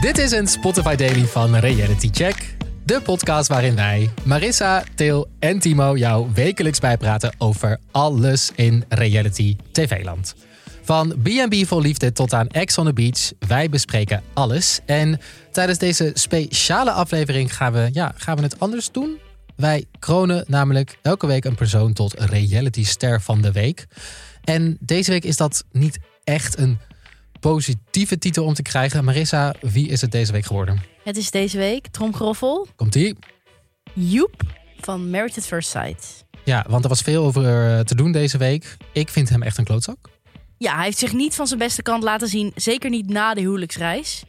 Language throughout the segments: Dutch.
Dit is een Spotify Daily van Reality Check. De podcast waarin wij, Marissa, Til en Timo jou wekelijks bijpraten over alles in reality TV-land. Van B&B voor liefde tot aan Ex on the Beach, wij bespreken alles. En tijdens deze speciale aflevering gaan we, ja, gaan we het anders doen. Wij kronen namelijk elke week een persoon tot reality ster van de week. En deze week is dat niet echt een positieve titel om te krijgen. Marissa, wie is het deze week geworden? Het is deze week, Tromgroffel, Komt-ie? Joep van Married at First Sight. Ja, want er was veel over eh, te doen deze week. Ik vind hem echt een klootzak. Ja, hij heeft zich niet van zijn beste kant laten zien. Zeker niet na de huwelijksreis.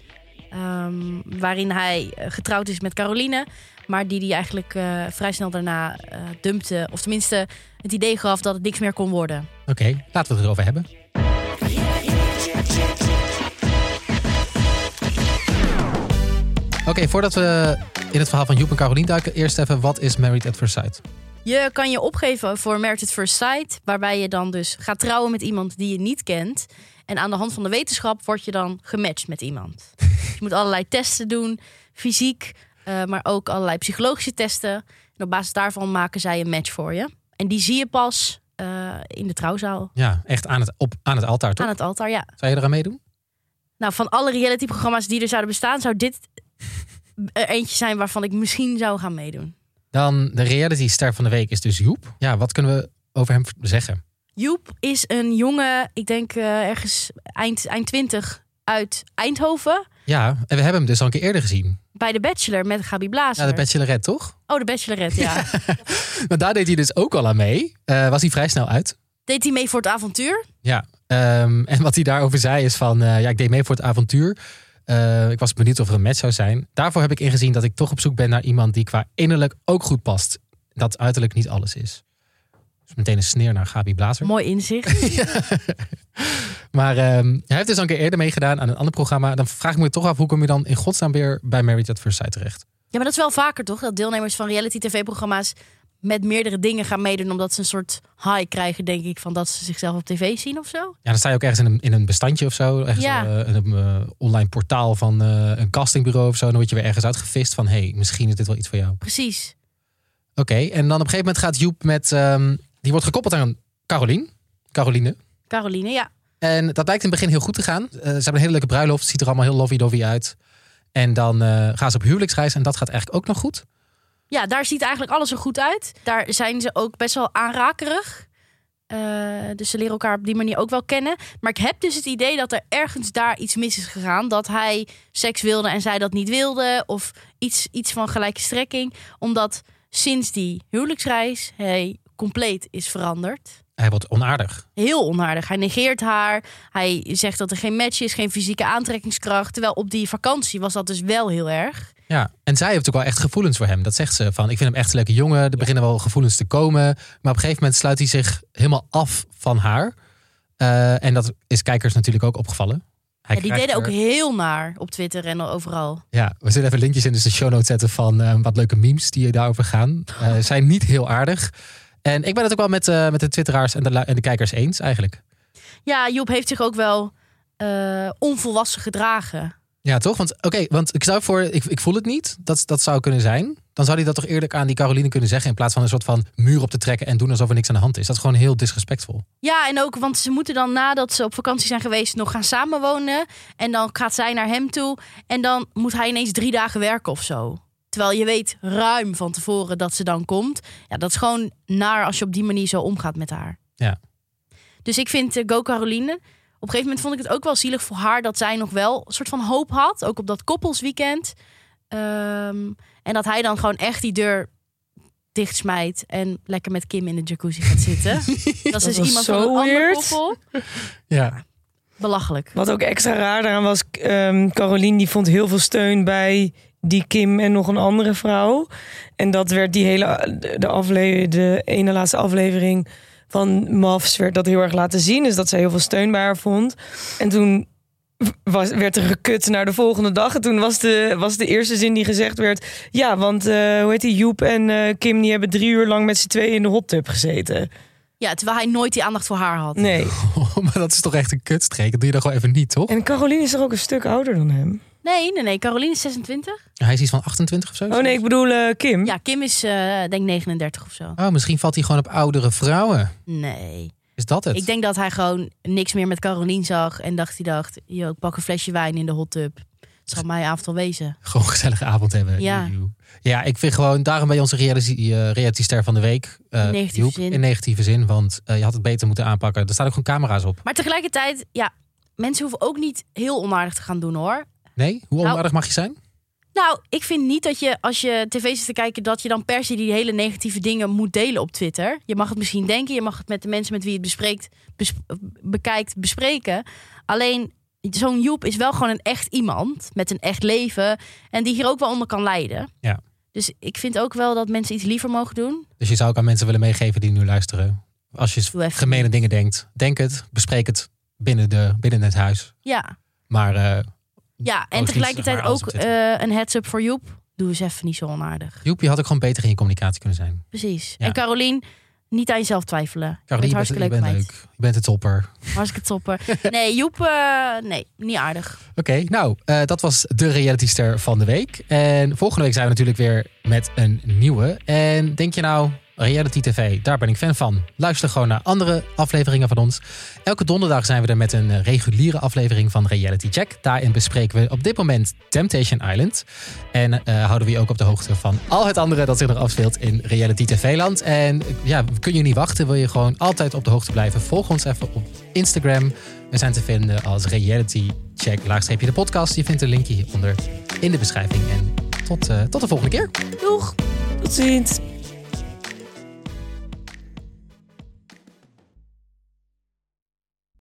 Ehm, waarin hij eh, getrouwd is met Caroline. Maar die hij eigenlijk eh, vrij snel daarna eh, dumpte. Of tenminste het idee gaf dat het niks meer kon worden. Oké, laten we het erover hebben. Oké, voordat we in het verhaal van Joep en Carolien duiken, eerst even wat is Married at First Sight? Je kan je opgeven voor Married at First Sight. Waarbij je dan dus gaat trouwen met iemand die je niet kent. En aan de hand van de wetenschap word je dan gematcht met iemand. Dus je moet allerlei testen doen. Fysiek, eh, maar ook allerlei psychologische testen. En op basis daarvan maken zij een match voor je. En die zie je pas eh, in de trouwzaal. Ja, echt aan het, op, aan het altaar toch? Aan het altaar, ja. Zou je eraan meedoen? Nou, van alle realityprogramma's die er zouden bestaan... zou dit er eentje zijn waarvan ik misschien zou gaan meedoen. Dan de reality ster van de week is dus Joep. Ja, wat kunnen we over hem zeggen? Joep is een jongen, ik denk eh, ergens eind, eind 20 uit Eindhoven. Ja, en we hebben hem dus al een keer eerder gezien. Bij de Bachelor met Gabi Blazer. Ja, de Bachelorette toch? Oh, de Bachelorette, ja. Maar daar deed hij dus ook al aan mee. Eh, was hij vrij snel uit. Deed hij mee voor het avontuur? Ja, ehm, en wat hij daarover zei is van... eh, ja, ik deed mee voor het avontuur. Eh, ik was benieuwd of er een match zou zijn. Daarvoor heb ik ingezien dat ik toch op zoek ben naar iemand... die qua innerlijk ook goed past. Dat uiterlijk niet alles is. Dus meteen een sneer naar Gabi Blazer. Mooi inzicht. Maar ehm, hij heeft dus al een keer eerder meegedaan aan een ander programma. Dan vraag ik me toch af, hoe kom je dan in godsnaam weer... bij Married at First Sight terecht? Ja, maar dat is wel vaker toch? Dat deelnemers van reality-tv-programma's met meerdere dingen gaan meedoen. Omdat ze een soort high krijgen, denk ik, van dat ze zichzelf op tv zien of zo. Ja, dan sta je ook ergens in een, in een bestandje of zo. Ergens Ja. eh, in een eh, online portaal van eh, een castingbureau of zo. Dan word je weer ergens uitgevist van... hey, misschien is dit wel iets voor jou. Precies. Oké, en dan op een gegeven moment gaat Joep met... ehm, die wordt gekoppeld aan Carolien. Caroline. Caroline, ja. En dat lijkt in het begin heel goed te gaan. Eh, ze hebben een hele leuke bruiloft. Ziet er allemaal heel lovey-dovey uit. En dan eh, gaan ze op huwelijksreis. En dat gaat eigenlijk ook nog goed. Ja, daar ziet eigenlijk alles er goed uit. Daar zijn ze ook best wel aanrakerig. Eh, dus ze leren elkaar op die manier ook wel kennen. Maar ik heb dus het idee dat er ergens daar iets mis is gegaan. Dat hij seks wilde en zij dat niet wilde. Of iets, iets van gelijke strekking. Omdat sinds die huwelijksreis hij compleet is veranderd. Hij wordt onaardig. Heel onaardig. Hij negeert haar. Hij zegt dat er geen match is, geen fysieke aantrekkingskracht. Terwijl op die vakantie was dat dus wel heel erg. Ja, en zij heeft ook wel echt gevoelens voor hem. Dat zegt ze van, ik vind hem echt een leuke jongen. Er beginnen wel gevoelens te komen. Maar op een gegeven moment sluit hij zich helemaal af van haar. Eh, en dat is kijkers natuurlijk ook opgevallen. Hij Ja, die krijgt deden ook er- heel naar op Twitter en overal. Ja, we zullen even linkjes in de show notes zetten van eh, wat leuke memes die daarover gaan. Eh, zijn niet heel aardig. En ik ben het ook wel met, eh, met de twitteraars en de, lu- en de kijkers eens eigenlijk. Ja, Joep heeft zich ook wel eh, onvolwassen gedragen. Ja, toch? Want oké, want ik zou voor, ik, ik voel het niet, dat, dat zou kunnen zijn. Dan zou hij dat toch eerlijk aan die Caroline kunnen zeggen in plaats van een soort van muur op te trekken en doen alsof er niks aan de hand is. Dat is gewoon heel disrespectvol. Ja, en ook, want ze moeten dan nadat ze op vakantie zijn geweest nog gaan samenwonen. En dan gaat zij naar hem toe. En dan moet hij ineens drie dagen werken of zo. Terwijl je weet ruim van tevoren dat ze dan komt. Ja, dat is gewoon naar als je op die manier zo omgaat met haar. Ja. Dus ik vind eh, Go Caroline. Op een gegeven moment vond ik het ook wel zielig voor haar dat zij nog wel een soort van hoop had. Ook op dat koppelsweekend. Ehm, en dat hij dan gewoon echt die deur dichtsmijt en lekker met Kim in de jacuzzi gaat zitten. dat is dus was iemand zo van een ander weird. koppel. Ja. Belachelijk. Wat ook extra raar daaraan was, ehm Caroline die vond heel veel steun bij die Kim en nog een andere vrouw. En dat werd die hele, de, afle- de ene laatste aflevering van Mavs werd dat heel erg laten zien. Dus dat zij heel veel steun bij haar vond. En toen was, werd er gekut naar de volgende dag. En toen was de, was de eerste zin die gezegd werd... Ja, want eh, hoe heet die, Joep en eh, Kim die hebben drie uur lang met z'n tweeën in de hot tub gezeten. Ja, terwijl hij nooit die aandacht voor haar had. Nee. maar dat is toch echt een kutstreek. Dat doe je dan gewoon even niet, toch? En Caroline is toch ook een stuk ouder dan hem? Nee, nee, nee. Caroline is 26. Hij is iets van 28 of zo? Oh nee, ik bedoel eh, Kim. Ja, Kim is eh, denk 39 of zo. Oh, misschien valt hij gewoon op oudere vrouwen. Nee. Is dat het? Ik denk dat hij gewoon niks meer met Caroline zag. En dacht, hij dacht, joh, ik pak een flesje wijn in de hot tub. Het zal mijn avond al wezen. Gewoon een gezellige avond hebben. Ja. Joe. ja, ik vind gewoon daarom bij onze reality, eh, realityster van de week. eh, Negatieve Joep, zin. In negatieve zin, want eh, je had het beter moeten aanpakken. Er staan ook gewoon camera's op. Maar tegelijkertijd, ja, mensen hoeven ook niet heel onaardig te gaan doen hoor. Nee? Hoe Nou- onaardig mag je zijn? Nou, ik vind niet dat je als je tv zit te kijken, dat je dan per se die hele negatieve dingen moet delen op Twitter. Je mag het misschien denken, je mag het met de mensen met wie je het bespreekt, bes- bekijkt, bespreken. Alleen zo'n Joep is wel gewoon een echt iemand met een echt leven en die hier ook wel onder kan lijden. Ja. Dus ik vind ook wel dat mensen iets liever mogen doen. Dus je zou ook aan mensen willen meegeven die nu luisteren. Als je Doe even. gemene dingen denkt, denk het, bespreek het binnen, de, binnen het huis. Ja, Maar eh, ja. niet en tegelijkertijd maar alles ook op Twitter. eh, een heads-up voor Joep. Doe eens even niet zo onaardig. Joep, je had ook gewoon beter in je communicatie kunnen zijn. Precies. Ja. En Carolien, niet aan jezelf twijfelen. Caroline, je bent je hartstikke je leuk, meid. leuk. Je bent een topper. Hartstikke topper. Nee, Joep, eh, nee, niet aardig. Oké, nou, eh, dat was de realityster van de week. En volgende week zijn we natuurlijk weer met een nieuwe. En denk je nou, reality tv, daar ben ik fan van. Luister gewoon naar andere afleveringen van ons. Elke donderdag zijn we er met een eh, reguliere aflevering van Reality Check. Daarin bespreken we op dit moment Temptation Island. En eh, houden we je ook op de hoogte van al het andere dat zich nog afspeelt in Reality TV-land. En eh, ja, kun je niet wachten. Wil je gewoon altijd op de hoogte blijven? Volg ons even op Instagram. We zijn te vinden als Reality Check laagstreepje de podcast. Je vindt een linkje hieronder in de beschrijving. En tot, eh, tot de volgende keer. Doeg! Tot ziens.